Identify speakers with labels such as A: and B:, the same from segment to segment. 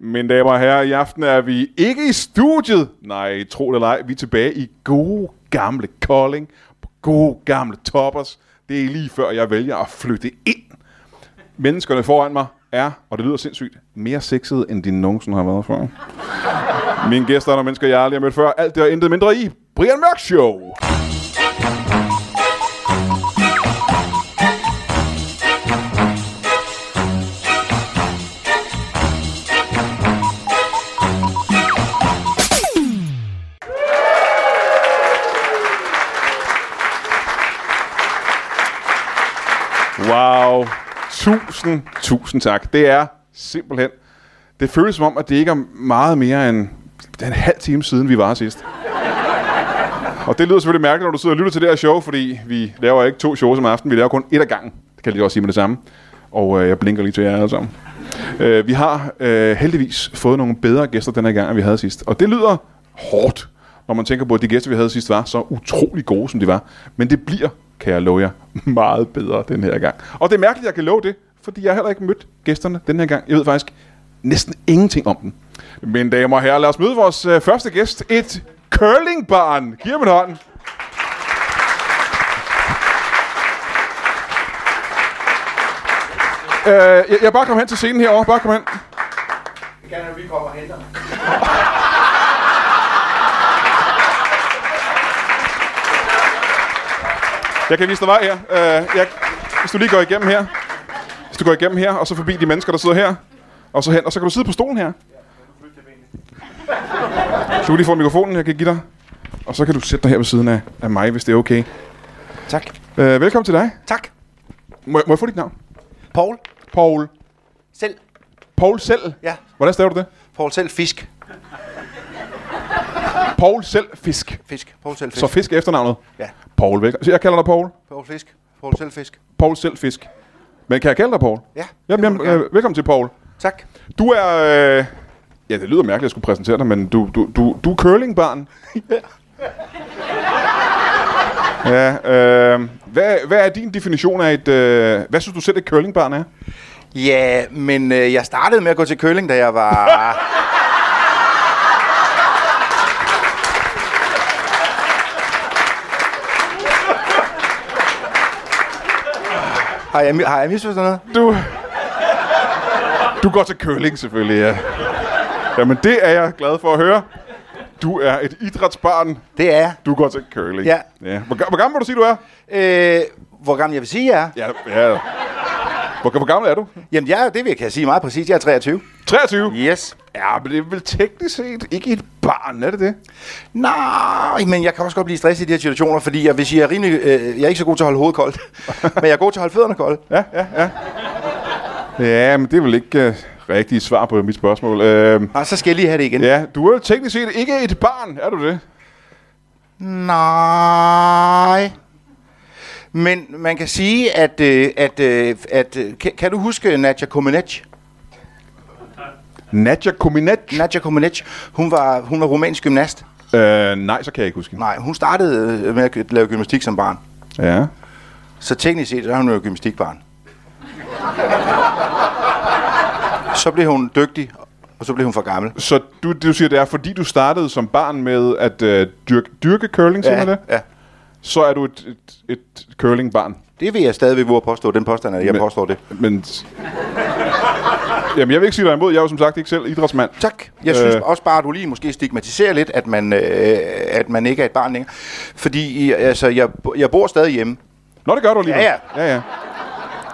A: Mine damer og herrer, i aften er vi ikke i studiet. Nej, tro det eller ej, vi er tilbage i gode gamle Kolding. På gode gamle toppers. Det er lige før, jeg vælger at flytte ind. Menneskerne foran mig er, og det lyder sindssygt, mere sexede, end de nogensinde har været før. Mine gæster og mennesker, jeg aldrig har mødt før. Alt det og intet mindre i Brian Mørk Show. Wow. Tusind, tusind tak. Det er simpelthen... Det føles som om, at det ikke er meget mere end det er en halv time siden, vi var her sidst. Og det lyder selvfølgelig mærkeligt, når du sidder og lytter til det her show, fordi vi laver ikke to shows om aftenen, vi laver kun et af gangen. Det kan jeg lige også sige med det samme. Og øh, jeg blinker lige til jer alle sammen. Øh, vi har øh, heldigvis fået nogle bedre gæster den her gang, end vi havde sidst. Og det lyder hårdt, når man tænker på, at de gæster, vi havde sidst, var så utrolig gode, som de var. Men det bliver, kan jeg love jer, meget bedre den her gang. Og det er mærkeligt, at jeg kan love det, fordi jeg har heller ikke mødt gæsterne den her gang. Jeg ved faktisk næsten ingenting om den. Men damer og herrer, lad os møde vores øh, første gæst, et curlingbarn. Giv ham en hånd. Øh, jeg, jeg bare kom hen til scenen herovre. Bare kom hen.
B: gerne, at vi kommer og henter.
A: Jeg kan vise dig vej her. Øh, jeg, hvis du lige går igennem her. Hvis du går igennem her, og så forbi de mennesker, der sidder her. Og så hen, og så kan du sidde på stolen her. Så kan du lige få mikrofonen, jeg kan give dig. Og så kan du sætte dig her ved siden af, af mig, hvis det er okay.
B: Tak.
A: Øh, velkommen til dig.
B: Tak.
A: Må, jeg- må jeg få dit navn?
B: Paul.
A: Paul.
B: Selv.
A: Paul selv?
B: Ja.
A: Hvordan staver du det?
B: Paul selv fisk.
A: Paul selv fisk. fisk.
B: Fisk. Paul selv fisk.
A: Så fisk er efternavnet?
B: Ja.
A: Paul, velkommen. Så jeg kalder dig Paul.
B: Paul fisk. Paul selv fisk.
A: Paul selv fisk. Men kan jeg kalde dig Paul?
B: Ja.
A: Jamen,
B: det må
A: jamen
B: du gerne.
A: øh, velkommen til Paul.
B: Tak.
A: Du er... Øh, ja, det lyder mærkeligt, at jeg skulle præsentere dig, men du, du, du, du er curlingbarn. ja. øh, hvad, hvad er din definition af et... Øh, hvad synes du selv, et curlingbarn er?
B: Ja, men øh, jeg startede med at gå til curling, da jeg var... har, jeg, mi- har jeg misforstået noget?
A: Du... Du går til curling, selvfølgelig, ja. Jamen, det er jeg glad for at høre. Du er et idrætsbarn.
B: Det er jeg.
A: Du går til curling.
B: Ja.
A: ja. Hvor, ga- hvor gammel må du sige, du er?
B: Øh, hvor gammel jeg vil sige, jeg er?
A: Ja, ja. Hvor, hvor gammel er du?
B: Jamen, jeg, er- det vil- kan jeg sige meget præcist. Jeg er 23.
A: 23?
B: Yes.
A: Ja, men det er vel teknisk set ikke et barn, er det det?
B: Nej, men jeg kan også godt blive stresset i de her situationer, fordi jeg, hvis I er, rimelig, øh, jeg er ikke så god til at holde hovedet koldt, men jeg er god til at holde fødderne kolde.
A: Ja, ja, ja. Ja, men det er vel ikke uh, rigtigt svar på mit spørgsmål. Uh,
B: Nej, så skal jeg lige have det igen. Ja.
A: ja, du er jo teknisk set ikke et barn, er du det?
B: Nej. Men man kan sige, at, øh, at, øh, at øh, kan, kan du huske Nadja Comaneci?
A: Nadja Kominac?
B: Nadja Comaneci, hun var, hun var rumænsk gymnast.
A: Uh, nej, så kan jeg ikke huske.
B: Nej, hun startede øh, med at lave gymnastik som barn.
A: Ja.
B: Så teknisk set, så er hun jo gymnastikbarn. Så blev hun dygtig, og så blev hun for gammel.
A: Så du, det du siger, det er, fordi du startede som barn med at øh, dyrke, dyrke curling, ja. det?
B: ja.
A: så er du et, et, et curlingbarn.
B: Det vil jeg stadigvæk våge at påstå. Den påstand er, at jeg
A: Men-
B: påstår det.
A: Men... Jamen, jeg vil ikke sige dig imod. Jeg er jo som sagt ikke selv idrætsmand.
B: Tak. Jeg synes
A: Øh.
B: øh. også bare, at du lige måske stigmatiserer lidt, at man, øh, at man ikke er et barn længere. Fordi øh, altså, jeg, jeg bor stadig hjemme.
A: Nå, det gør du lige.
B: Ja, ja.
A: ja, ja.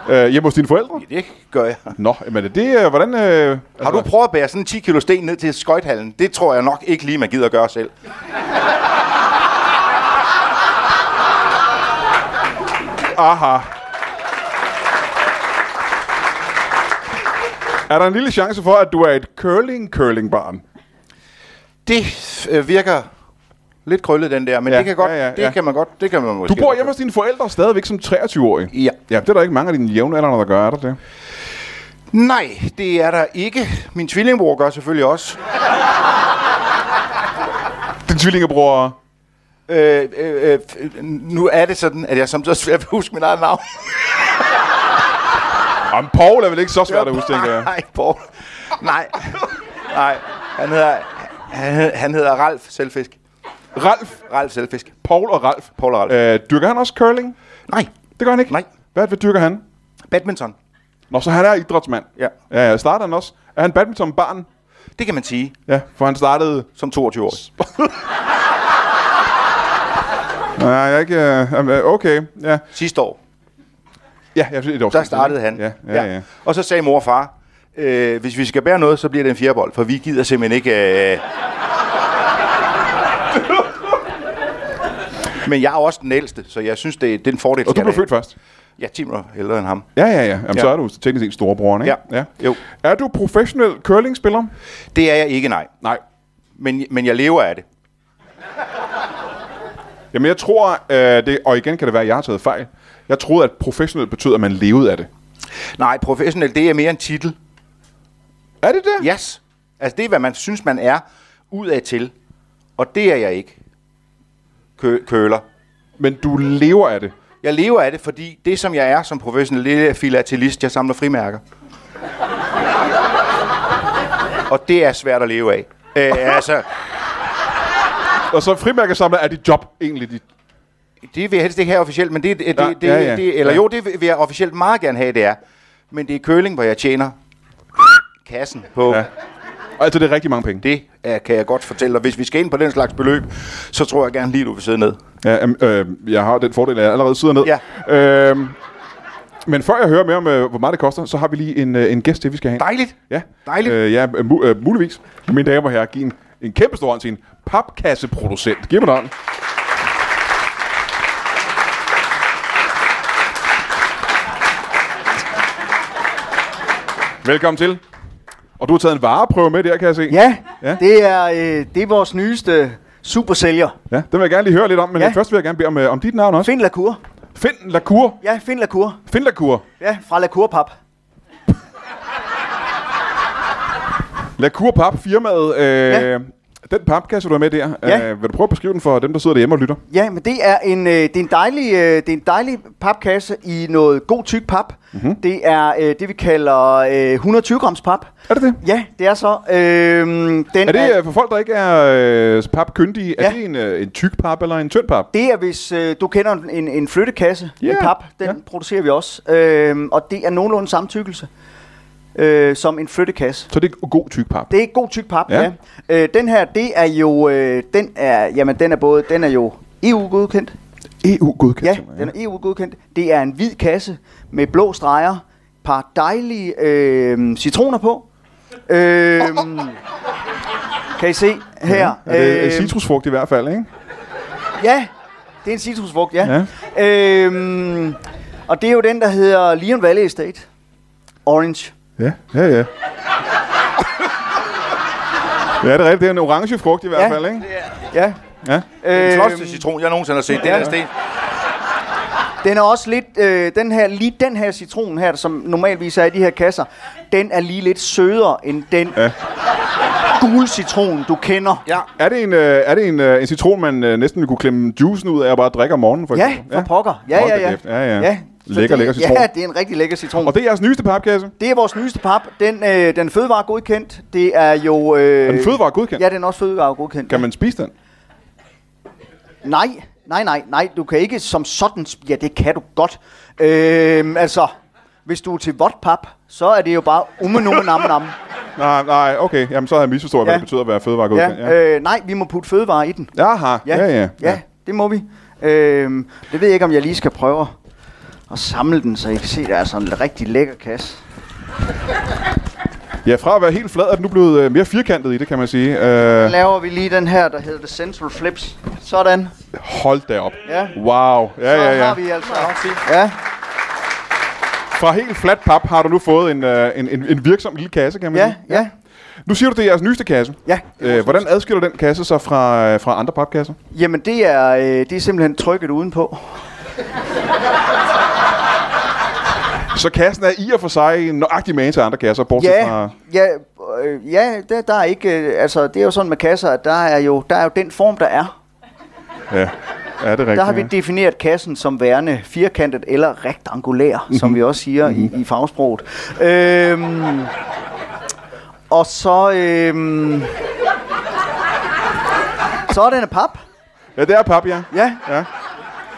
A: Øh, hjemme hos dine forældre?
B: Det gør jeg.
A: Nå, men er det... Øh, hvordan... Øh,
B: Har du prøvet at bære sådan 10 kilo sten ned til skøjthallen? Det tror jeg nok ikke lige, man gider at gøre selv.
A: Aha. Er der en lille chance for, at du er et curling-curling-barn?
B: Det øh, virker lidt krøllet, den der.
A: Ja,
B: Men ja, det, kan godt,
A: ja, ja,
B: det
A: ja.
B: kan man godt. Det kan man måske
A: Du bor hjemme hos dine forældre stadigvæk som 23-årig.
B: Ja.
A: Ja, det er der ikke mange af dine jævnaldrende, der gør, er der det?
B: Nej, det er der ikke. Min tvillingbror gør selvfølgelig også.
A: Din tvillingebror...
B: Øh, øh, øh, f- nu er det sådan, at jeg samtidig svært ved at huske mit eget navn.
A: Jamen, Paul er vel ikke så svært at huske, tænker jeg.
B: Nej, Paul. Nej. Nej, han hedder, han, han hedder Ralf Selfisk.
A: Ralf,
B: Ralf Selfisk.
A: Paul og Ralf.
B: Paul og Ralf.
A: Øh, dyrker han også curling?
B: Nej,
A: Det gør han ikke?
B: Nej.
A: Hvad, hvad dyrker han?
B: badminton.
A: Nå, så han er idrætsmand.
B: Ja.
A: Ja, ja. Starter han også? Er han badmintonbarn?
B: Det kan man sige
A: Ja, for han startede...
B: som 22-årig.
A: Nej, jeg er ikke... øh, øh, okay, ja.
B: Sidste år,
A: Ja, jeg synes, det er
B: der startede han.
A: Ja, ja, ja. ja.
B: Og så sagde mor og far, øh, hvis vi skal bære noget, så bliver det en fjerbold, for vi gider simpelthen ikke... Øh... Men jeg er også den ældste, så jeg synes, det, det er en fordel.
A: Og du
B: skal
A: blev
B: jeg da-
A: født først?
B: Ja, 10 minutter ældre end ham.
A: Ja, ja, ja. Jamen, ja.
B: Ja.
A: så er du teknisk set storebroren, ikke?
B: Ja. Jo.
A: Er du professionel curlingspiller?
B: Det er jeg ikke, nej.
A: Nej.
B: Men, men jeg lever af det.
A: Jamen, jeg tror, øh, det, og igen kan det være, at jeg har taget fejl. Jeg troede, at professionel betød, at man levede af det.
B: Nej, professionel, det er mere en titel.
A: Er det det?
B: Yes. Altså, det er, hvad man synes, man er ud af til. Og det er jeg ikke. Kø- køler.
A: Men du lever af det.
B: Jeg lever af det, fordi det, som jeg er som professionel, det er filatelist. Jeg samler frimærker. og det er svært at leve af. Øh, altså,
A: Og så frimærkesamler er dit job egentlig. Dit.
B: det vil jeg helst ikke have officielt, men det, det,
A: Nej,
B: det, det,
A: ja, ja.
B: det eller
A: Ja.
B: jo, det vil jeg officielt meget gerne have, det er. Men det er køling, hvor jeg tjener kassen på.
A: Ja.
B: Ja.
A: Og altså, det er rigtig mange penge.
B: Det øh, kan jeg godt fortælle, og hvis vi skal ind på den slags beløb, så tror jeg gerne lige, du vil sidde ned.
A: Ja, øhm, øh, jeg har den fordel, at jeg allerede sidder ned.
B: Ja.
A: Øhm, men før jeg hører mere om, øh, hvor meget det koster, så har vi lige en, øh, en gæst til, vi skal have. ind.
B: Dejligt.
A: Ja,
B: Dejligt.
A: Øh, ja øh, mu- øh, muligvis. Mine damer og herrer, giv en, en kæmpe stor hånd til en papkasseproducent. Giv mig en hånd. Velkommen til. Og du har taget en vareprøve med der, kan jeg se.
C: Ja,
A: Ja.
C: ja. Det, er, øh, det er vores nyeste supersælger.
A: ja den vil jeg gerne lige høre lidt om, men
C: Ja.
A: ja. først vil jeg gerne bede om, øh, om dit navn også.
C: Find Lacour.
A: Finn Lacour.
C: Ja, Find Lacour.
A: Finn Lacour.
C: Ja, fra Lacourpap.
A: Lacour Pap, firmaet. Øh, ja.
C: Ja.
A: Den papkasse, du har med der,
C: Ja.
A: øh, vil du prøve at beskrive den for dem, der sidder derhjemme og lytter?
C: Ja, men det er en, øh, det er en, dejlig, øh, det er en dejlig papkasse i noget god tyk pap.
A: Mhm.
C: Mm-hmm. Det er øh, det, vi kalder øh, 120 grams pap.
A: Er det det?
C: Ja, det er så. Øh, den
A: Er det øh, for folk, der ikke er øh, papkyndige, ja. er
C: Ja.
A: det en, øh, en tyk pap eller en tynd pap?
C: Det er, hvis øh, du kender en- en, en flyttekasse,
A: Ja,
C: yeah. en pap, den
A: ja.
C: producerer vi også. Øh, og det er nogenlunde samme tykkelse øh, som en flyttekasse.
A: Så det er god tyk pap. Det.
C: Det er god tyk pap,
A: Ja.
C: ja. ja. Øh, den her, det er jo, øh, den er, jamen den er både, den er jo EU-godkendt.
A: EU-godkendt.
C: Ja,
A: E simpelthen.
C: den er EU-godkendt. Det er en hvid kasse med blå streger, par dejlige øh, citroner på. Øh, kan I se her?
A: Ja, det er
C: Øhm,
A: citrusfrugt i hvert fald, ikke?
C: Ja, det er en citrusfrugt, ja. ja. Øhm, og det er jo den, der hedder Leon Valley Estate. Orange.
A: Ja, ja, ja. ja, det er rigtigt. Det er en orange frugt i hvert
C: Ja.
A: fald, ikke?
C: Ja.
A: Ja.
B: Den
C: Øhm,
B: flotteste citron, jeg nogensinde har set. Den
C: ja.
B: er sten.
C: Den er også lidt, øh, den her, lige den her citron her, som normalvis er i de her kasser, den er lige lidt sødere end den
A: Ja.
C: ja. gule citron, du kender.
B: Ja.
A: Er det en, øh, er det en, øh, en citron, man øh, næsten ville kunne klemme juicen ud af og bare drikke om morgenen, for
C: Ja,
A: eksempel?
C: for pokker. Ja,
A: Hold
C: ja,
A: da
C: ja.
A: kæft. ja, ja.
C: ja. Så
A: Lækker,
C: det,
A: lækker citron.
C: Ja, det er en rigtig lækker citron.
A: Og det er jeres nyeste papkasse?
C: Det er vores nyeste pap. Den, øh, den er fødevaregodkendt. Det er jo... Øh,
A: Er den fødevaregodkendt?
C: Ja, den er også fødevaregodkendt.
A: Kan man spise den?
C: Nej, nej, nej, nej. Du kan ikke som sådan... sp- Ja, det kan du godt. Øh, altså, hvis du er til vodpap, så er det jo bare umme numme nam nam.
A: Nej, nej, okay. Jamen, så har jeg misforstået, hvad
C: Ja.
A: det betyder at være fødevaregodkendt.
C: ja, øh, nej, vi må putte fødevarer i den.
A: Aha, ja, ja.
C: ja, ja det må vi. Øhm, det ved jeg ikke, om jeg lige skal prøve at samle den, så I kan se, der er sådan en rigtig lækker kasse.
A: Ja, fra at være helt flad, er den nu blevet øh, mere firkantet i det, kan man sige. Øh,
C: Så laver vi lige den her, der hedder The Central Flips. Sådan.
A: hold da op.
C: Ja.
A: Wow. Ja,
C: Så
A: ja, ja.
C: har vi altså... Ja,
A: Fra helt flat pap har du nu fået en, øh, en, en, en virksom lille kasse, kan man
C: ja,
A: sige.
C: ja.
A: Nu siger du, det er jeres nyeste kasse.
C: Ja.
A: Øh, hvordan adskiller den kasse sig fra, øh, fra andre papkasser?
C: Jamen, det er, øh, det er simpelthen trykket udenpå.
A: Så kassen er i og for sig nøjagtig magen til andre kasser, bortset
C: Ja,
A: fra...
C: ja, øh, ja der, der er ikke, øh, altså det er jo sådan med kasser, at der er jo, der er jo den form, der er.
A: Ja, ja det er rigtigt.
C: Der har vi
A: ja.
C: defineret kassen som værende firkantet eller
A: Mhm.
C: rektangulær, som vi også siger i, i fagsproget. Øhm, Og så... Øhm, så er den af pap.
A: Ja, det er pap, ja.
C: Ja.
A: Ja.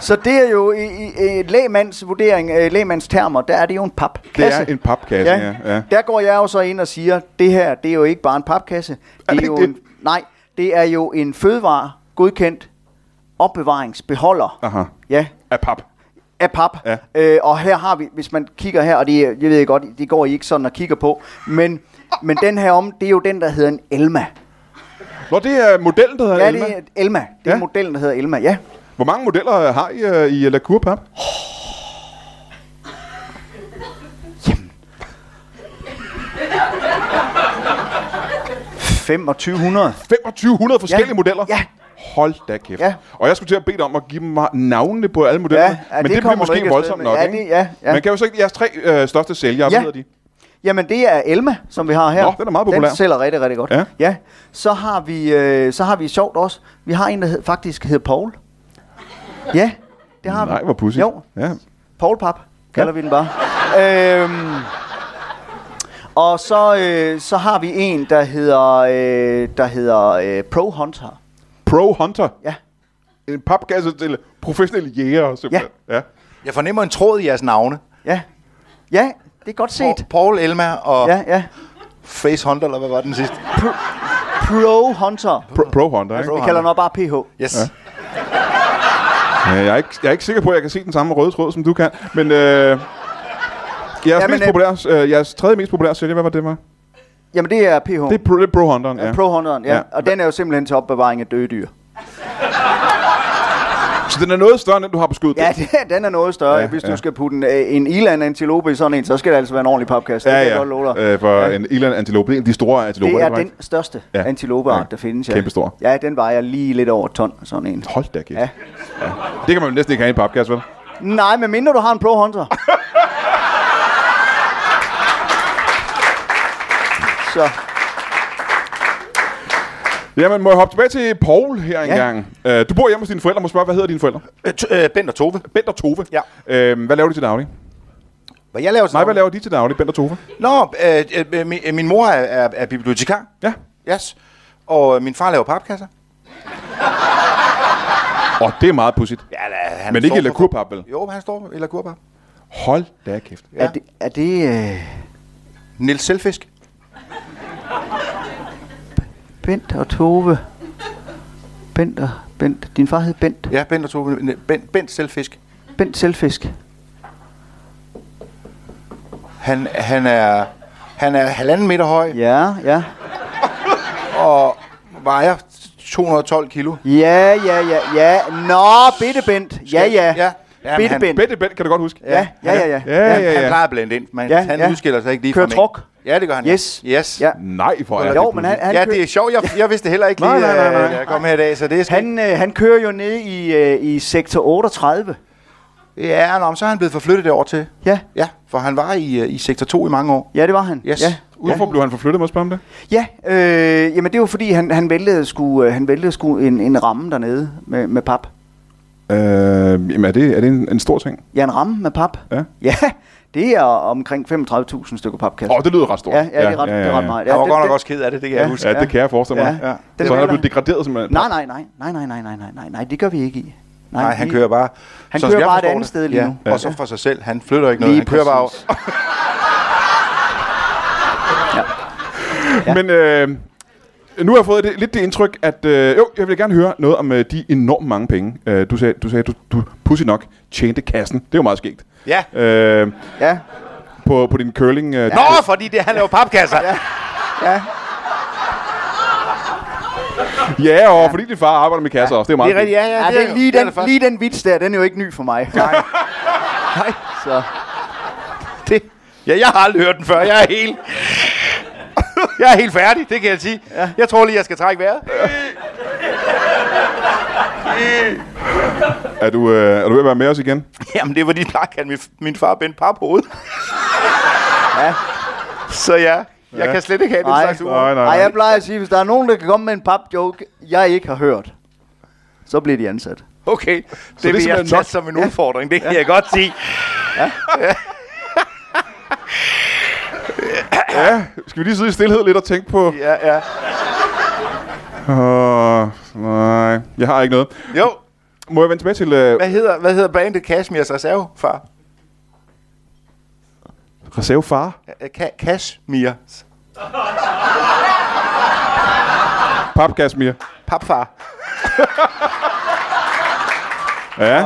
C: Så det er jo i, i, i lægmands vurdering, øh, lægmands termer, der er det jo en
A: Det
C: papkasse.
A: er en papkasse, ja. ja.
C: Der går jeg jo så ind og siger, det her, det er jo ikke bare en papkasse. Det
A: det
C: er jo
A: ikke
C: en, nej, det er jo en fødevare godkendt opbevaringsbeholder.
A: Aha.
C: Ja,
A: Af pap.
C: af pap.
A: Ja.
C: Øh, og her har vi, hvis man kigger her, og det, er- jeg ved godt, det går I ikke sådan og kigger på, men, men den her om, det er jo den, der hedder en Elma.
A: Nå, det er modellen, der hedder
C: Ja,
A: Elma.
C: det er Elma. Det
A: Ja.
C: er ja. modellen, der hedder Elma, ja.
A: Hvor mange modeller har I øh, i La Cour Pap?
C: Jamen. 2500.
A: 2500 forskellige
C: Ja.
A: modeller?
C: Ja.
A: Hold da kæft.
C: Ja.
A: Og jeg skulle til at bede dig om at give mig navnene på alle modellerne,
C: Ja, ja,
A: men
C: det
A: det, bliver
C: kommer du ikke
A: måske
C: afsted
A: voldsomt
C: med.
A: nok,
C: Ja,
A: ikke?
C: det- ja, ja.
A: Man kan jo så ikke jeres tre øh, største sælgere, ja.
C: Ja.
A: hvad hedder de?
C: Jamen, det er Elma, som vi har her.
A: Nå, den er meget populær.
C: Den sælger rigtig, rigtig godt.
A: Ja.
C: ja. Så har vi, øh, så har vi sjovt også. Vi har en, der hed, faktisk hedder Paul. Ja, det har
A: Nej,
C: vi.
A: hvor pudsigt.
C: Jo,
A: Ja.
C: Paul Pap kalder
A: Ja.
C: vi den bare. øhm, og så, øh, så har vi en, der hedder, øh, der hedder øh, Pro Hunter.
A: Pro Hunter.
C: Ja.
A: En papkasse til professionelle jægere, simpelthen. Ja. ja.
B: Jeg fornemmer en tråd i jeres navne.
C: Ja. Ja, det er godt set.
B: Pa- Paul Elmer og
C: Ja, ja.
B: Face Hunter, eller hvad var den sidste?
C: Pro Hunter.
A: Pro, Pro Hunter, ikke?
B: Pro
C: Vi kalder den også bare PH.
B: Yes.
A: Ja. Ja, jeg, er ikke, jeg er ikke sikker på, at jeg kan se den samme røde tråd, som du kan, men... Øh, jeres,
C: Jamen,
A: mest
C: øh,
A: populære, øh, jeres tredje mest populære sælger, hvad var det, var?
C: Jamen, det er PH.
A: Det er Pro, det er Pro Hunteren, ja.
C: Ja. Pro Hunteren, ja.
A: Ja.
C: ja. Og den er jo simpelthen til opbevaring af døde dyr.
A: Så den er noget større, end den, du har på skuddet.
C: Ja, det, den er noget større.
A: Ja,
C: Ja, Hvis
A: ja.
C: du skal putte en, øh, en iland-antilope i sådan en, så skal det altså være en ordentlig papkasse. det kan jeg godt love dig.
A: Øh, for ja. en Ilan antilope, det er en af de store antiloper.
C: det er
A: korrekt?
C: den største
A: Ja.
C: ja. antilopeart,
A: Ja.
C: der findes. Ja.
A: Kæmpestor.
C: Ja, den vejer lige lidt over et ton, sådan en.
A: Hold da kæft. Ja.
C: Ja.
A: ja. Det kan man jo næsten ikke have i en papkasse, vel?
C: Nej, men mindre du har en Pro Hunter. Så,
A: Jamen, må jeg hoppe tilbage til Paul her
C: Ja.
A: engang. Ja. Øh, du bor hjemme hos dine forældre. Må jeg spørge, hvad hedder dine forældre?
B: Øh, t- øh, Bent og Tove.
A: Bent og Tove.
B: Ja.
A: Øhm, hvad laver de til daglig?
B: Hvad jeg laver til
A: Nej, hvad
B: daglig?
A: laver de til daglig, Bent og Tove?
B: Nå, øh, øh, min, øh, min mor er, er, er bibliotekar.
A: Ja.
B: Yes. Og øh, min far laver papkasser.
A: Og det er meget pudsigt.
B: Ja, da, han
A: Men ikke
B: står
A: i La
B: for-
A: Cour-pap, vel?
B: Jo, han står i lakurpap.
A: Hold da kæft.
C: er det... Er det øh,
B: Nils Selfisk.
C: Bent og Tove? Bent og... Bent. Din far hed Bent.
B: Ja, Bent og Tove. N- Bent, Bent Selfisk.
C: Bent Selfisk.
B: Han, han er... Han er halvanden meter høj
C: Ja, ja.
B: og vejer 212 kilo.
C: Ja, ja, ja, ja. Nå, bitte Bent. Ja, ja.
B: Ja. Jamen,
C: bitte
B: han-
C: Bent.
A: Bent, Bent, kan du godt huske?
C: Ja, ja, ja, ja.
A: Ja, ja,
B: Han
A: ja.
B: plejer at blande ind, men
C: Ja,
B: ja, han
C: ja.
B: udskiller sig ikke lige
C: Kører
B: fra
C: truck.
B: Ja, det gør han.
C: Yes.
B: Ja. Yes.
C: Ja.
A: Nej, hvor er
C: Jo,
A: det
C: men han,
A: pudsigt.
C: han,
B: ja,
C: kører,
B: det er sjovt. Jeg, jeg vidste det heller ikke lige,
A: Nej, nej, nej, nej.
B: øh, da jeg kom her i dag, så det er sgu-
C: han, øh, han kører jo ned i, øh, i sektor 38.
B: Ja, nå, men så er han blevet forflyttet derover til.
C: Ja,
B: Ja, for han var i, øh, i sektor 2 i mange år.
C: ja det var han.
B: Yes.
C: Ja,
A: Hvorfor blev han forflyttet, må jeg spørge om det?
C: ja øh, jamen det var fordi, han, han væltede sgu, øh, han væltede sgu en, en ramme dernede med, med pap.
A: Øh, jamen, er det, er det en, en stor ting?
C: Ja, en ramme med pap.
A: Ja.
C: ja det er omkring 35.000 stykker papkasse.
A: Åh, det lyder ret stort.
C: ja, ja, det er ret, det er ret meget.
B: Ja, han var
C: det,
B: godt nok
C: det-
B: også ked af det, det kan ja. jeg huske.
A: Ja, det kan jeg forestille mig.
C: Ja.
A: Ja.
C: Ja.
A: Så han
C: Den
A: er
C: vælger
A: blevet
C: han.
A: degraderet simpelthen.
C: Nej, nej, nej, nej, nej, nej, nej, nej, nej, nej, det gør vi ikke i.
B: Nej, han
C: vi-
B: kører bare...
C: Han
B: som
C: kører
B: jeg
C: bare et
B: forstår
C: andet
B: det.
C: sted lige nu.
B: Ja. Og så for sig selv. Han flytter ikke noget.
C: Lige
B: han kører
C: præcis.
B: bare...
A: Ja. Men øh, nu har jeg fået det, lidt det indtryk, at øh, jo, jeg vil gerne høre noget om øh, de enormt mange penge. Øh, du sagde, du, sagde du, du pussy nok tjente kassen. Det er jo meget skægt.
B: Ja.
A: Øh,
C: Ja,
A: på, på din curling... Øh, ja.
B: Nå, fordi det, han laver papkasser. ja.
C: ja.
A: ja, og fordi din far arbejder med kasser ja. også. Det er meget
B: Det er rigtigt, ja, ja.
C: Ja, det er lige, den,
B: det først.
C: lige den vits der, den er jo ikke ny for mig. Nej. Nej, så.
B: Det. Ja, jeg har aldrig hørt den før. Jeg er helt... jeg er helt færdig, det kan jeg sige. Ja. Jeg tror lige, jeg skal trække vejret.
A: Er du, øh, er du ved at være med os igen?
B: Jamen, det var de plejer kan min, min far bænde par på hovedet.
C: Ja.
B: Så ja, jeg ja. kan slet ikke have
C: Nej.
B: den slags ord.
A: Nej, nej,
C: Nej,
A: nej.
C: jeg plejer at sige, hvis der er nogen, der kan komme med en pap-joke, jeg ikke har hørt, så bliver de ansat.
B: Okay, det,
A: det er
B: vil jeg
A: simpelthen
B: tage
A: nok.
B: som en udfordring, det kan jeg godt sige.
A: Ja, skal vi lige sidde i stillhed lidt og tænke på...
B: Ja, ja.
A: Åh, nej, jeg har ikke noget.
B: Jo,
A: Må jeg vende tilbage til øh,
B: hvad hedder, hvad hedder bandet Kashmirs Reserve, far?
A: reservefar?
B: Øh, Ka- Kashmirs.
A: Papkasmir.
B: Papfar.
A: Ja,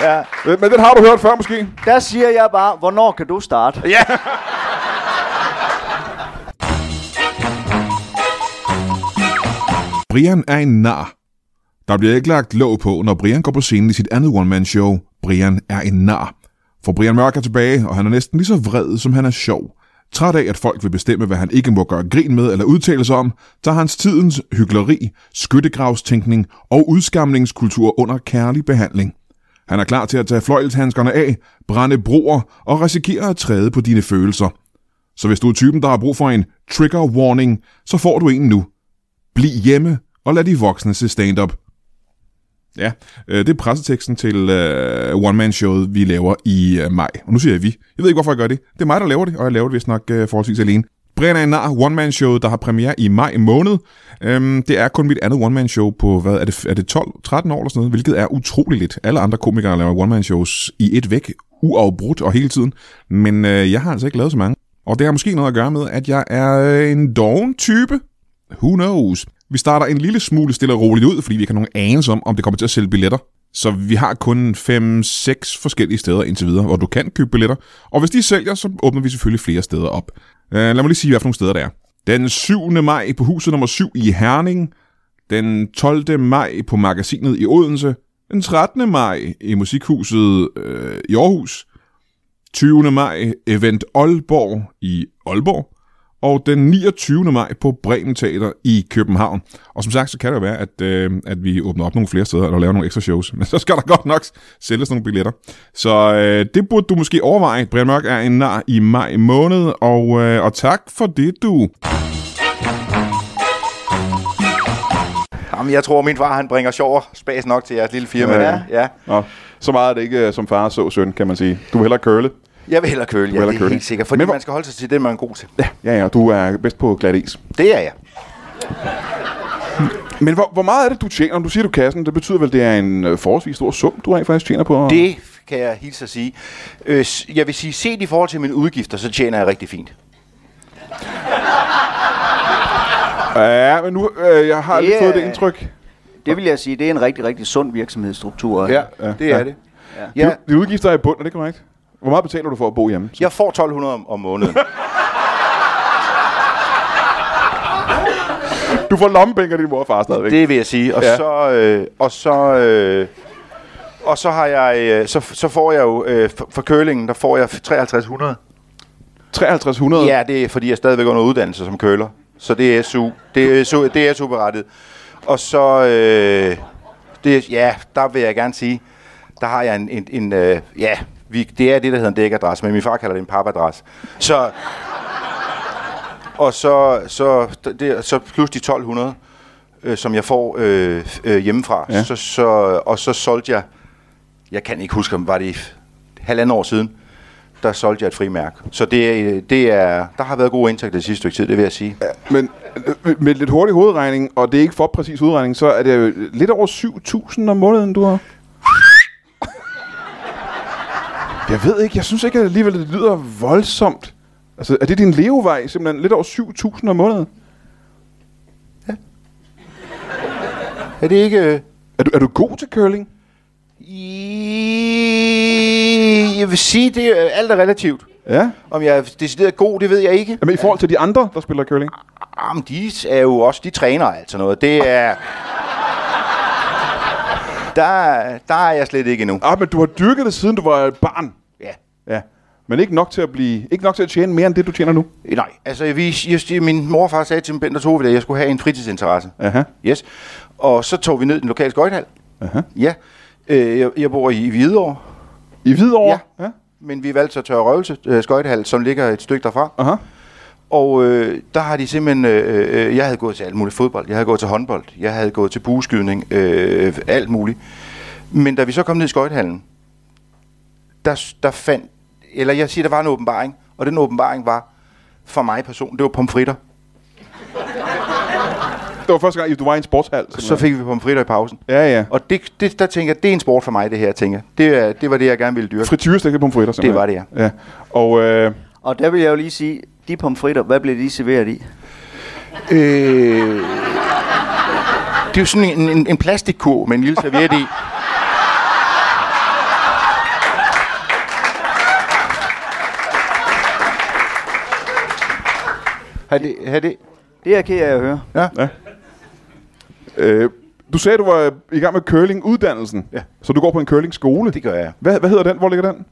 B: Ja.
A: øh, men den har du hørt før måske.
C: Der siger jeg bare, hvornår kan du starte?
B: Ja.
D: Brian er en nar. Der bliver ikke lagt låg på, når Brian går på scenen i sit andet one-man-show, Brian er en nar. For Brian Mørk er tilbage, og han er næsten lige så vred, som han er sjov. Træt af, at folk vil bestemme, hvad han ikke må gøre grin med eller udtale sig om, tager hans tidens hyggeleri, skyttegravstænkning og udskamningskultur under kærlig behandling. Han er klar til at tage fløjlshandskerne af, brænde broer og risikere at træde på dine følelser. Så hvis du er typen, der har brug for en trigger warning, så får du en nu. Bliv hjemme og lad de voksne se stand-up. Ja, øh, det er presseteksten til øh, one-man-showet, vi laver i øh, maj. Og nu siger jeg vi. Jeg ved ikke, hvorfor jeg gør det. Det er mig, der laver det, og jeg laver det vist nok øh, forholdsvis alene. Brian er en nar, one-man-showet, der har premiere i maj måned. Øhm, det er kun mit andet one-man-show på, hvad er det, er det 12-13 år eller sådan noget, hvilket er utroligt lidt. Alle andre komikere laver one-man-shows i et væk, uafbrudt og hele tiden. Men øh, jeg har altså ikke lavet så mange. Og det har måske noget at gøre med, at jeg er øh, en doven type. Who knows? Vi starter en lille smule stille og roligt ud, fordi vi ikke har nogen anelse om, om det kommer til at sælge billetter. Så vi har kun 5-6 forskellige steder indtil videre, hvor du kan købe billetter. Og hvis de sælger, så åbner vi selvfølgelig flere steder op. Uh, lad mig lige sige, hvad for nogle steder der er. Den 7. maj på huset nummer 7 i Herning. Den 12. maj på magasinet i Odense. Den 13. maj i Musikhuset øh, i Aarhus. 20. maj Event Aalborg i Aalborg, og den 29. maj på Bremen Teater i København. Og som sagt, så kan det jo være, at, øh, at vi åbner op nogle flere steder, eller laver nogle ekstra shows, men så skal der godt nok sælges nogle billetter. Så øh, det burde du måske overveje. Brian Mørk er en nar i maj måned, og, øh, og tak for det, du.
B: Jamen, jeg tror, min far han bringer sjov og spas nok til jeres lille firma.
A: Ja.
B: Ja. ja.
A: Nå, så meget er det ikke øh, som far så søn, kan man sige. Du vil hellere curle.
B: Jeg vil hellere køle, ja,
A: hellere
B: det er
A: curling.
B: helt sikkert. Fordi
A: Men
B: Men
A: hvor-
B: man skal holde sig til det, man er god til. Ja.
A: Ja, ja, du er bedst på glat is.
B: Det er jeg.
A: Men hvor, hvor meget er det, du tjener? Du siger, du kassen. Det betyder vel, det er en øh, forholdsvis stor sum, du rent faktisk tjener på?
B: Det kan jeg hilse at sige. Øh, s- jeg vil sige, set i forhold til mine udgifter, så tjener jeg rigtig fint.
A: Ja, men nu, øh, jeg har lige
C: Det er-
A: fået det indtryk.
C: Det vil jeg sige, det er en rigtig, rigtig sund virksomhedsstruktur.
A: ja,
B: det
A: ja.
B: er det. Ja.
A: Ja.
B: Jeg,
A: De udgifter er i bund, er det korrekt? Hvor meget betaler du for at bo hjemme?
B: jeg får 1200 om, om måneden.
A: Du får lommepenge af din mor og far stadigvæk.
B: Det vil jeg sige. Og
A: Ja.
B: ja. så øh, og så øh, og så har jeg øh, så, så får jeg jo øh, for, for curlingen, der får jeg 5300.
A: 5300?
B: Ja, det er fordi jeg er stadigvæk under uddannelse som køler. Så det er SU. Det er SU, det er SU berettet. Og så øh, det ja, der vil jeg gerne sige, der har jeg en en, en øh, ja, vi, det er det der hedder en dækadresse, men min far kalder det en papadresse. Så og så så det, så plus de 1200 øh, som jeg får øh, øh, hjemmefra.
A: Ja.
B: Ja. Så, så, og så solgte jeg, jeg kan ikke huske, om var det i f- halvandet år siden, der solgte jeg et frimærk. Så det, er, øh, det er, der har været gode indtægter det sidste stykke tid, det vil jeg sige.
A: Men øh, med lidt hurtig hovedregning, og det er ikke for præcis udregning, så er det jo lidt over 7.000 om måneden, du har. Jeg ved ikke, jeg synes ikke at alligevel, det lyder voldsomt. Altså, er det din levevej simpelthen? Lidt over 7.000 om måneden?
B: Er det ikke... Øh,
A: Er du, er du god til curling?
B: i- jeg vil sige, det er, alt er relativt.
A: Ja.
B: Om jeg er decideret god, det ved jeg ikke.
A: Jamen, i forhold til de andre, der spiller curling?
B: Jamen, de er jo også, de træner altså noget. Det er... Der, der er jeg slet ikke endnu.
A: Ah, men du har dyrket det, siden du var et barn.
B: Ja.
A: Ja. Men ikke nok til at blive, ikke nok til at tjene mere end det, du tjener nu.
B: Øh, Nej, altså vi, jeg, min mor og far sagde til Bent og Tove, at jeg skulle have en fritidsinteresse.
A: Aha.
B: Yes. Og så tog vi ned i den lokale skøjthal.
A: Aha.
B: Ja. Øh, jeg, jeg bor i Hvidovre,
A: I Hvidovre?
B: Ja.
A: ja.
B: men vi valgte så Tørre Røvelse øh, skøjthal, som ligger et stykke derfra.
A: Aha.
B: Og øh, der har de simpelthen... Øh, øh, jeg havde gået til alt muligt fodbold, jeg havde gået til håndbold, jeg havde gået til bueskydning, øh, alt muligt. Men da vi så kom ned i skøjthallen, der, der fandt... Eller jeg siger, der var en åbenbaring, og den åbenbaring var, for mig personligt, det var pomfritter.
A: Det var første gang, du var i en sportshal.
B: Så fik vi pomfritter i pausen.
A: Ja, ja.
B: Og det, det, der tænker jeg, det er en sport for mig, det her, tænker jeg. det, er- det var det, jeg gerne ville dyrke.
A: Frityrestegte pomfritter, simpelthen.
B: var det, ja.
A: ja. Og øh,
C: Og der vil jeg jo lige sige, de pomfritter, hvad blev de serveret i?
B: Øh, det er jo sådan en, en, en plastikkurv med en lille serviet i. Har det, har det,
C: Det er ked af at høre.
A: øh, du sagde, du var øh, i gang med curlinguddannelsen.
B: Ja.
A: Så du går på en curlingskole.
B: det gør jeg.
A: Hvad, hvad hedder den? Hvor ligger den?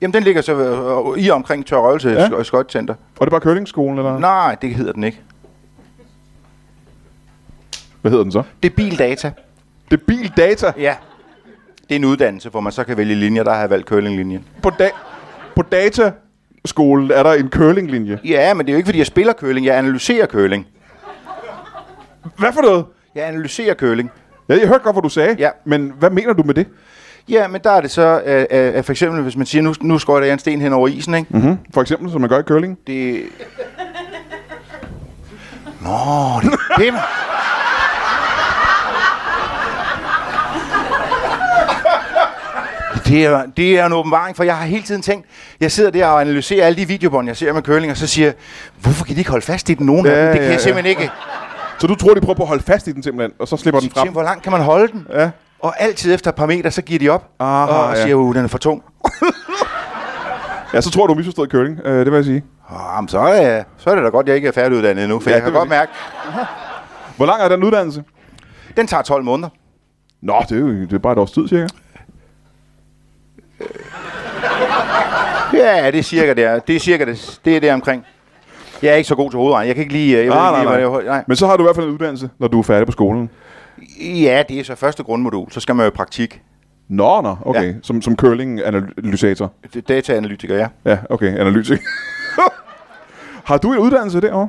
B: Jamen, den ligger så øh, i og omkring Tør Røgelse
A: Ja.
B: ja. Skøjtcenter.
A: Var det bare curlingskolen, eller?
B: Nej, det hedder den ikke.
A: Hvad hedder den så?
B: Det er bildata.
A: Det er bildata
B: Ja. Det er en uddannelse, hvor man så kan vælge linjer. Der har jeg valgt curlinglinjen.
A: på, da- på dataskolen er der en curlinglinje.
B: Ja, men det er jo ikke, fordi jeg spiller curling. Jeg analyserer curling.
A: Hvad for noget?
B: Jeg analyserer curling.
A: Ja, jeg hørte godt, hvad du sagde,
B: Ja.
A: men hvad mener du med det?
B: Ja, men der er det så, øh, øh, at for eksempel, hvis man siger, nu, nu skøjter jeg en sten hen over isen, ikke? Mm.
A: Mm-hmm. For eksempel, som man gør i curling.
B: Det... Nå, det er det, man. Det er, det er en åbenbaring, for jeg har hele tiden tænkt, jeg sidder der og analyserer alle de videobånd, jeg ser med curling, og så siger jeg, hvorfor kan de ikke holde fast i den nogen ja, af
A: Ja,
B: dem? Det kan
A: ja,
B: jeg
A: ja.
B: simpelthen ikke.
A: Så du tror, de prøver på at holde fast i den simpelthen, og så slipper den
B: Frem.
A: frem?
B: Hvor langt kan man holde den?
A: Ja.
B: Og altid efter et par meter, så giver de op,
A: Aha,
B: og
A: ja.
B: siger, at den er for tung.
A: Ja, så tror jeg, du har misforstået curling. Øh, det vil jeg sige.
B: Oh, men så, er, så er det da godt, at jeg ikke er færdiguddannet endnu, for
A: Ja,
B: ja, jeg kan
A: det vil
B: godt mærke,
A: Hvor lang er den uddannelse?
B: den tager 12 måneder.
A: Nå, det er jo det er bare et års tid, cirka.
B: Ja, det er cirka der. Det er cirka det. Det er der omkring. Jeg er ikke så god til hovedregning. Jeg kan ikke lige... Jeg ved
A: Ah,
B: ikke
A: nej,
B: lige,
A: nej.
B: Hvad det,
A: Men så har du i hvert fald en uddannelse, når du er færdig på skolen.
B: nej. Ja, det er så første grundmodul. Så skal man jo i praktik.
A: Nå, nå, okay. Ja.
B: Ja.
A: Som, som curling-analysator.
B: Det er Dataanalytiker, ja.
A: Ja, okay, analytik. har du en uddannelse derovre?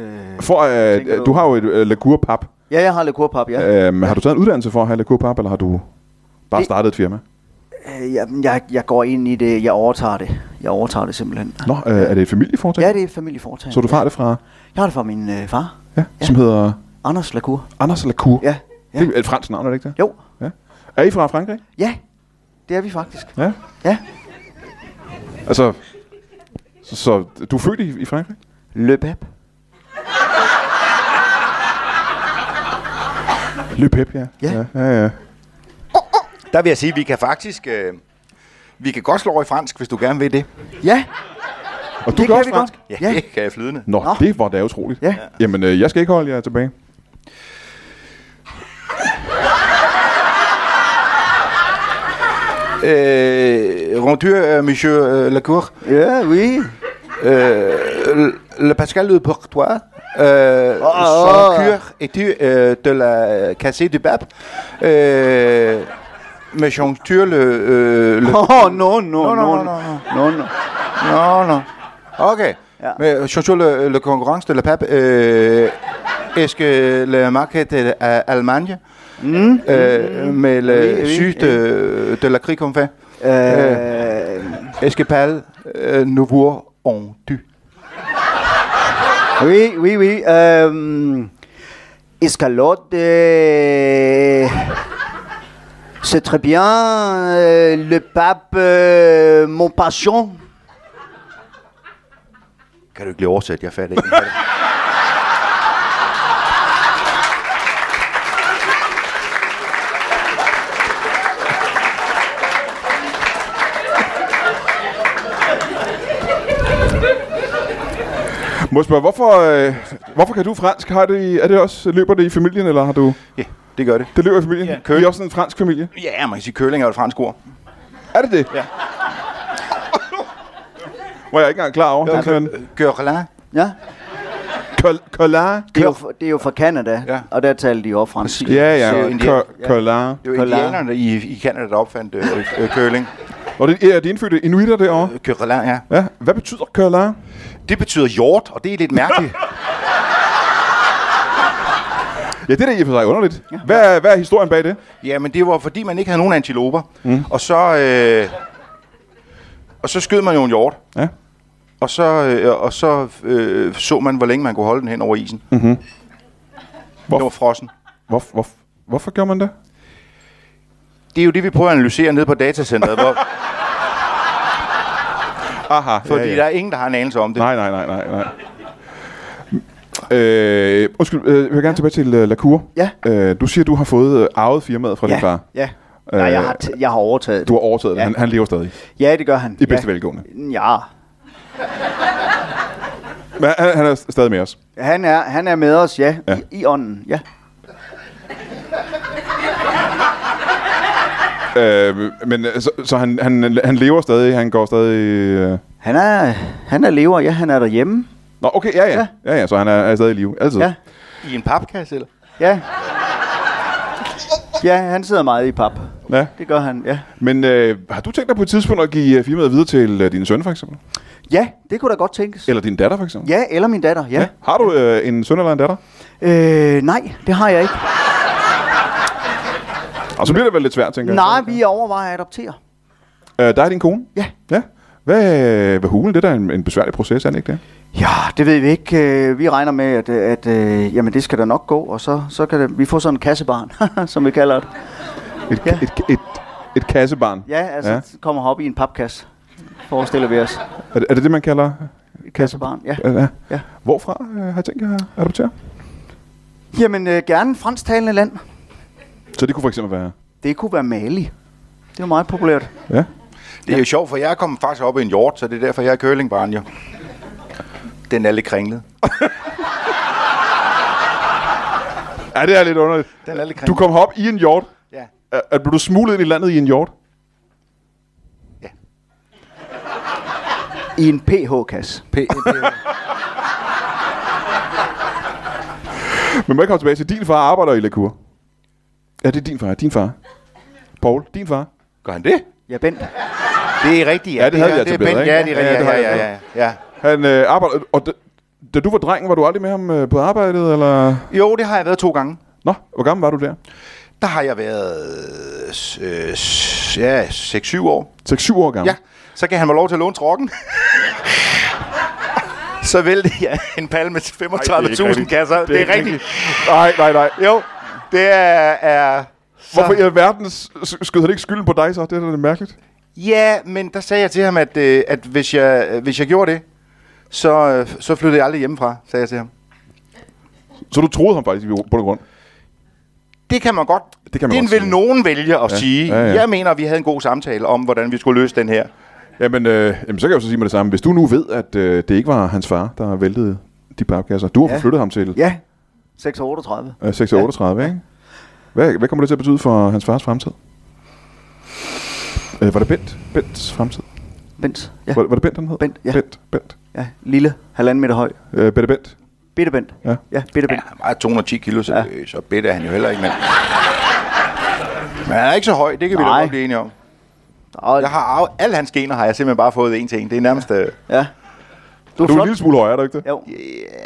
A: Øh, for,
C: tænker
A: øh,
C: du-
A: du har jo et øh, lakurpap.
C: Ja, jeg har lekurpap, ja.
A: Øhm, har du taget en uddannelse for at have lakurpap, eller har du bare
C: Det-
A: startet et firma?
C: Øh, jeg, jeg, jeg går ind i det, jeg overtager det. Jeg overtager det simpelthen.
A: Nå, øh, er det et familieforetag?
C: Ja, det er et familieforetagende.
A: Så du har det fra,
C: Jeg har det fra min øh, far,
A: ja, ja. som hedder
C: Anders Lacour.
A: Anders Lacour.
C: Ja, ja.
A: Det er et fransk navn, er det ikke det?
C: Jo,
A: Ja. Er I fra Frankrig?
C: ja, det er vi faktisk.
A: Ja.
C: Ja.
A: Altså, så, så du er født i, i Frankrig?
C: Le Pep.
A: Le Pep, ja.
C: Ja.
A: ja, ja, ja.
B: Der vil jeg sige, at vi kan faktisk... Øh, vi kan godt slå over i fransk, hvis du gerne vil det.
C: Ja,
A: Og du
C: det
A: kan
C: kan
A: også
C: vi
A: fransk?
C: godt.
B: Ja,
C: Ja.
B: ja. det kan jeg flydende.
A: Nå, Nå,
C: Nå.
A: det var da utroligt.
C: Ja.
A: Jamen, øh, jeg skal ikke holde jer tilbage.
B: Øh, Rondeur, euh, monsieur euh, Lacour.
C: Ja, oui.
B: Euh, le Pascal de Portois, euh,
C: Oh, oh,
B: son
C: oh.
B: cure est-tu euh, de la cassée du pape euh, Mais j'enture le, euh, le...
C: Oh, non,
B: Non, non,
C: non,
B: non,
C: non, non, non, non.
B: Non, non. Ok.
C: Ja.
B: Mais j'enture øh, le, le congruence de le pape. euh, Est-ce que le marque est de- à Allemagne
C: Mm.
B: Euh, Mais le
C: Oui, oui,
B: sud
C: oui.
B: euh, de la crie qu'on fait
C: Øh,
B: Est-ce que parle euh, nouveau en tu
C: oui, oui, oui. Euh, escalote, euh, c'est très bien. Euh, le pape, euh, mon passion.
B: Kan du ikke lige oversætte? Jeg fatter ikke.
A: Må jeg spørge, hvorfor, øh, hvorfor kan du fransk? Har det i, er det også, løber det i familien, eller har du...
B: ja, det gør det.
A: Det løber i familien? Ja. I er også sådan en fransk familie?
B: Ja, man kan sige, køling er jo et fransk ord.
A: Er det det?
B: Ja.
A: Var jeg ikke engang klar over. Det er sådan,
B: Øh, Gørla.
C: Ja,
A: Col- Collar.
C: det er jo, fra- det er jo fra Canada,
B: Ja.
C: og der taler de jo fransk.
B: Præcis.
A: Ja, ja.
B: Så
A: og
B: indian-
A: co- Collar.
B: Det var
C: Curlin.
B: indianerne i, i Canada, der opfandt øh, øh, curling.
A: Og det er de indfødte inuitter derovre.
B: Gørla, ja.
A: Ja. Hvad betyder collar?
B: Det betyder hjort, og det er lidt mærkeligt.
A: Ja, det er da i og for sig underligt. Hvad er, hvad er historien bag det?
B: ja, men det var fordi, man ikke havde nogen antiloper. Mm. Og så... Øh, og så skød man jo en hjort.
A: Ja.
B: Og så, øh, og så øh, så man, hvor længe man kunne holde den hen over isen. Mm-hmm.
A: Mhm.
B: Hvor? Den var frossen.
A: Hvor, hvor, hvorfor gjorde man det?
B: Det er jo det, vi prøver at analysere ned på datacenteret, hvor,
A: Aha,
B: fordi ja, ja. der er ingen, der har en anelse om det.
A: Nej, nej, nej, nej, nej. Øh, undskyld, øh, jeg vil gerne tilbage til øh, Lacour.
C: Ja.
A: Øh, du siger, du har fået øh, arvet firmaet fra din
C: Ja,
A: far.
C: ja. Nej, jeg har, t- jeg har overtaget
A: Du
C: det.
A: har overtaget ja.
C: Ja.
A: det. Han, han lever stadig.
C: Ja, det gør han.
A: I bedste
C: ja.
A: velgående.
C: Ja.
A: Men han, han er stadig med os.
C: Han er, han er med os, ja.
A: Ja.
C: ja. I, I ånden, ja.
A: Øh, men øh, så, så han, han, han lever stadig, han går stadig... Øh...
C: Han er, han er lever, ja. Han er derhjemme.
A: Nå, okay, ja, ja.
C: Ja.
A: Ja, ja, så han er, er stadig i live. Altid.
C: Ja.
B: I en papkasse, eller?
C: Ja. Ja, han sidder meget i pap.
A: ja.
C: Det gør han, ja.
A: Men øh, har du tænkt dig på et tidspunkt at give øh, firmaet videre til øh, din søn, for eksempel?
C: Ja, det kunne da godt tænkes.
A: Eller din datter, for eksempel?
C: Ja, eller min datter, ja.
A: Har du øh, en søn eller en datter?
C: Øh, nej, det har jeg ikke.
A: Og så bliver det vel lidt svært, tænker
C: Nej,
A: jeg.
C: vi overvejer at adoptere.
A: Øh, der er din kone?
C: Ja.
A: Ja. Hvad, hvad hulen? Det er da en, en besværlig proces, er det ikke det?
C: Ja, det ved vi ikke. Øh, Vi regner med, at, øh, at øh, jamen, det skal da nok gå, og så, så kan det, vi få sådan en kassebarn, som vi kalder det.
A: Et, ja.
C: Ja.
A: et, et, et kassebarn?
C: Ja, altså ja. kommer op i en papkasse, forestiller vi os.
A: Er, det- er det det, man kalder?
C: Et kassebarn, ja.
A: Ja. ja.
C: Ja.
A: Hvorfra øh, har jeg tænkt jer at adoptere?
C: Jamen, øh, gerne fransktalende land.
A: Så det kunne for eksempel være...
C: Det kunne være Mali. Det er meget populært.
A: Ja.
B: Det er jo sjovt, for jeg er kommet faktisk op i en hjort, så det er derfor, jeg er curlingbarn, jo. Den er lidt kringlet.
A: ja, det er lidt underligt.
B: Den er lidt kringlet.
A: Du kom op i en hjort.
B: Ja.
A: Er, er, blev du smuglet ind i landet i en hjort?
B: Ja.
C: I en PH-kasse.
B: P-
A: Men må jeg komme tilbage til, din far arbejder i Lacour. Ja, det er din far. Din far. Paul, din far.
B: Gør han det?
C: Ja, Bent.
B: Det er rigtigt,
A: Ja, det havde vi
B: er- er
A: altså bedre,
B: Ben-
A: ikke?
B: Ja, det er
A: Ja, det
B: rigtigt,
A: har
B: ja,
A: jeg
B: ja, ja, ja, ja.
A: Han øh, arbejder... Og da, da du var dreng, var du aldrig med ham øh, på arbejdet, eller...
B: Jo, det har jeg været to gange.
A: Nå, hvor gammel var du der?
B: Der har jeg været øh, s- ja, 6-7 år.
A: 6-7 år gammel?
B: Ja, så kan han mig lov til at låne trokken. så vælter jeg en palme til
A: Ej,
B: 35.000 kasser. Det er,
A: ikke
B: rigtigt.
A: Nej, nej, nej.
B: Jo, det er... er så-
A: Hvorfor i alverden s- s- skyder han ikke skylden på dig så? Det er da lidt mærkeligt.
B: Ja, men der sagde jeg til ham, at, øh, at hvis, jeg, øh, hvis jeg gjorde det, så, øh, så flyttede jeg aldrig hjemmefra, sagde jeg til ham.
A: Så du troede ham faktisk i bund og grund?
B: Det kan man godt.
A: Det kan man
B: Den
A: godt
B: vil
A: sige.
B: nogen vælge at ja. sige.
A: ja,
B: Ja,
A: ja.
B: ja. Jeg mener, vi havde en god samtale om, hvordan vi skulle løse den her.
A: Jamen, øh, jamen, så kan jeg jo så sige med det samme. Hvis du nu ved, at øh, det ikke var hans far, der væltede de bagkasser. Du har ja.
C: Ja.
A: flyttet ham til
C: Ja, 638.
A: øh, 638, ja. ikke? Hvad, hvad kommer det til at betyde for hans fars fremtid? Øh, var det Bent? Bents fremtid?
C: Bent, ja.
A: Var, var det Bent, han hed?
C: Bent, ja.
A: Bent, Bent.
C: ja. Lille, halvanden meter høj.
A: Øh, Bette Bent.
C: Bitte Bent.
A: Ja.
C: ja bitte Bent.
B: Ja, han vejer 210 kilo, så,
C: Ja.
B: ja. så bedt er han jo heller ikke. Men, men han er ikke så høj, det kan Nej. vi da
C: Nej.
B: godt blive enige om.
C: Og,
B: Jeg har arvet, alle hans gener har jeg simpelthen bare fået en til en. Det er nærmest øh,
C: ja. Du er
A: Du er en
C: flot.
A: lille smule højere, er du ikke det?
C: Jo.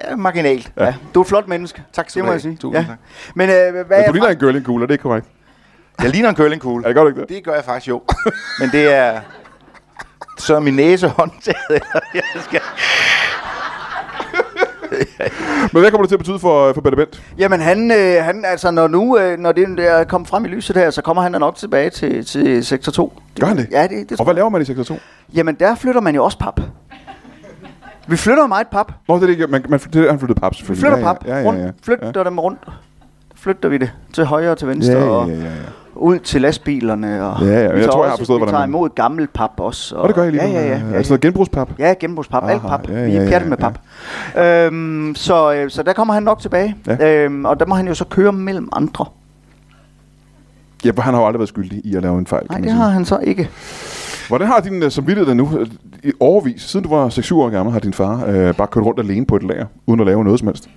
B: ja, marginalt.
C: Ja. Du er et flot menneske. Tak
B: skal
C: det
B: du
C: må
B: have.
C: jeg sige.
B: Tusind tak.
C: Men øh, hvad
A: Men du
C: er
A: ligner en girlingkugle, er det ikke korrekt?
B: Jeg ligner en curlingkugle.
A: Er det godt, ikke det?
B: Det gør jeg faktisk jo. Men det er... Så er min næse håndtaget. eller jeg skal...
A: Men hvad kommer det til at betyde for, for Bette Bent?
C: Jamen han, øh, han altså når nu øh, når det er kommet frem i lyset her, så kommer han da nok tilbage til, til sektor 2.
A: Gør han det?
C: Ja, det, det
A: Og
C: tror
A: hvad
C: jeg.
A: laver man i 602?
C: Jamen der flytter man jo også pap. Vi flytter jo meget pap.
A: Nå, det er det ikke. Man, man, det er, han flyttede pap,
C: Vi
A: selvfølgelig.
C: flytter
A: ja,
C: pap
A: Ja, ja, ja, ja.
C: rundt. Flytter dem rundt. Flytter vi det til højre og til
A: ja,
C: venstre
A: ja,
C: og
A: ja, ja, ja.
C: ud til lastbilerne og
A: Ja, ja, jeg
C: vi tager
A: tror, jeg har
C: også-
A: forstået,
C: vi
A: hvordan
C: tager
A: man-
C: imod gammel pap også.
A: Og det gør jeg lige.
C: Ja, ja, ja.
A: Er
C: ja,
A: det sådan noget genbrugspap?
C: Ja, genbrugspap, alt
A: Aha,
C: pap.
A: ja,
C: vi
A: ja, ja,
C: er pjatte med
A: ja.
C: pap. Øhm, så, øh, så der kommer han nok tilbage.
A: Ja.
C: Øhm, og der må han jo så køre mellem andre.
A: Ja, for han har jo aldrig været skyldig i at lave en fejl,
C: Nej,
A: kan
C: det
A: man
C: har
A: sige.
C: han så ikke.
A: Hvordan har din uh, samvittighed det nu? Øh, I overvis, siden du var 6-7 år gammel, har din far øh, bare kørt rundt alene på et lager, uden at lave noget som helst.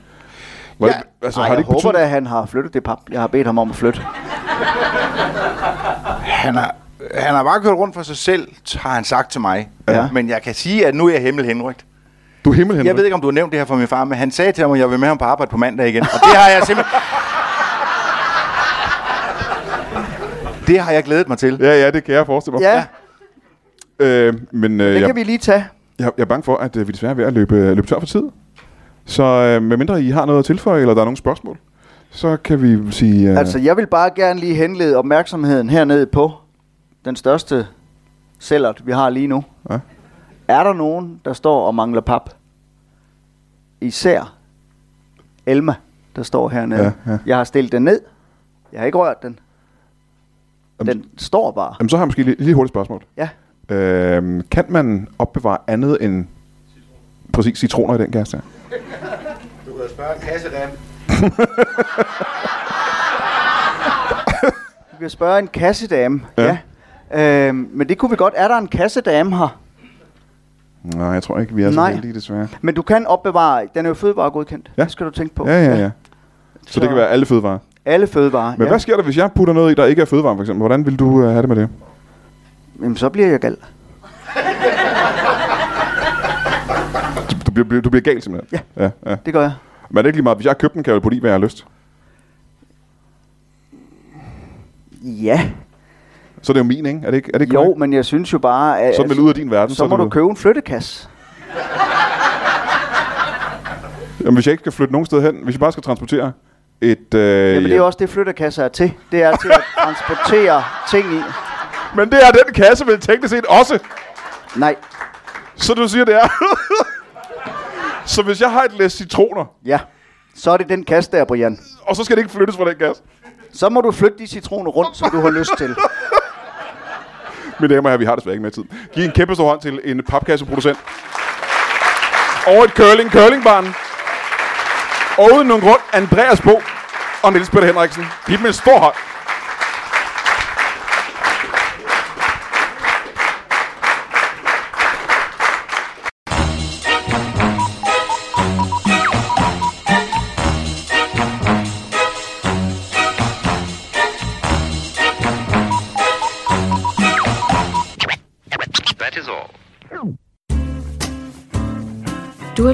A: Var
B: Ja.
A: det, altså,
C: Nej,
A: har det
C: jeg
A: ikke
C: håber da,
A: betydet,
C: at han har flyttet det pap. Jeg har bedt ham om at flytte.
B: Han har, han har bare kørt rundt for sig selv, har han sagt til mig.
C: Ja.
B: Men jeg kan sige, at nu er jeg himmel henrygt.
A: du er himmel,
B: Jeg ved ikke, om du har nævnt det her for min far, men han sagde til mig, at jeg vil med ham på arbejde på mandag igen. Og det har jeg simpelthen... Det har jeg glædet mig til.
A: Ja, ja, det kan jeg forestille mig.
C: Ja,
A: Øh, men øh,
C: det
A: jeg,
C: kan vi lige tage.
A: jeg, jeg er bange for, at øh, vi desværre er ved at løbe, løbe tør for tid. Så øh, medmindre I har noget at tilføje, eller der er nogle spørgsmål, så kan vi sige... Øh,
C: Altså, jeg vil bare gerne lige henlede opmærksomheden hernede på den største cellert, vi har lige nu.
A: Ja.
C: Er der nogen, der står og mangler pap? Især Elma, der står hernede.
A: Ja, ja.
C: Jeg har stillet den ned. Jeg har ikke rørt den. Den står bare.
A: Jamen, så har jeg måske lige, lige hurtigt spørgsmål.
C: Ja.
A: Øh, kan man opbevare andet end præcis citroner i den gas der?
B: Du kan spørge kassedam.
C: Vi kan spørge en kassedame.
A: Ja.
C: Ja. ja. Øhm, men det kunne vi godt. Er der en kassedame her?
A: Nej, jeg tror ikke, vi er så
C: Nej.
A: heldige, desværre.
C: Men du kan opbevare. Den er jo fødevaregodkendt.
A: Ja.
C: Det skal du tænke på.
A: Ja, ja, ja. Så det kan være alle fødevarer.
C: Alle fødevarer.
A: Men ja.
C: ja.
A: hvad sker der, hvis jeg putter noget i, der ikke er fødevarer, for eksempel? Hvordan vil du uh, have det med det?
C: Jamen, så bliver jeg gal.
A: Du, du, bliver, du bliver gal simpelthen. Ja. ja, ja.
C: Det gør jeg.
A: Men er det ikke lige meget? Hvis jeg har købt den, kan jeg jo putte i, hvad jeg har lyst.
C: Ja.
A: Så er det jo min, ikke? Er det ikke, er det ikke
C: Jo,
A: korrekt?
C: men jeg synes jo bare, at... Altså,
A: Så er den vel ud af din verden.
C: så
A: er
C: må
A: det
C: du
A: vel-
C: købe en flyttekasse.
A: Jamen, hvis jeg ikke skal flytte nogen sted hen, hvis jeg bare skal transportere et... Øh,
C: Jamen, det er jo også det, flyttekasser er til. Det er til at transportere ting i.
A: Men det er den kasse vel teknisk set også.
C: Nej,
A: Så du siger, det er... så hvis jeg har et læs citroner,
C: ja. Så er det den kasse der, Brian.
A: og så skal det ikke flyttes fra den kasse.
C: Så må du flytte de citroner rundt, som du har lyst til.
A: Mine damer og herrer, vi har desværre ikke mere tid. Giv en kæmpe stor hånd til en papkasseproducent. Og et curling curlingbarn. Og uden nogen grund, Andreas Bo og Niels Peter Henriksen. Giv dem en stor hånd.
E: That is all.
F: Du har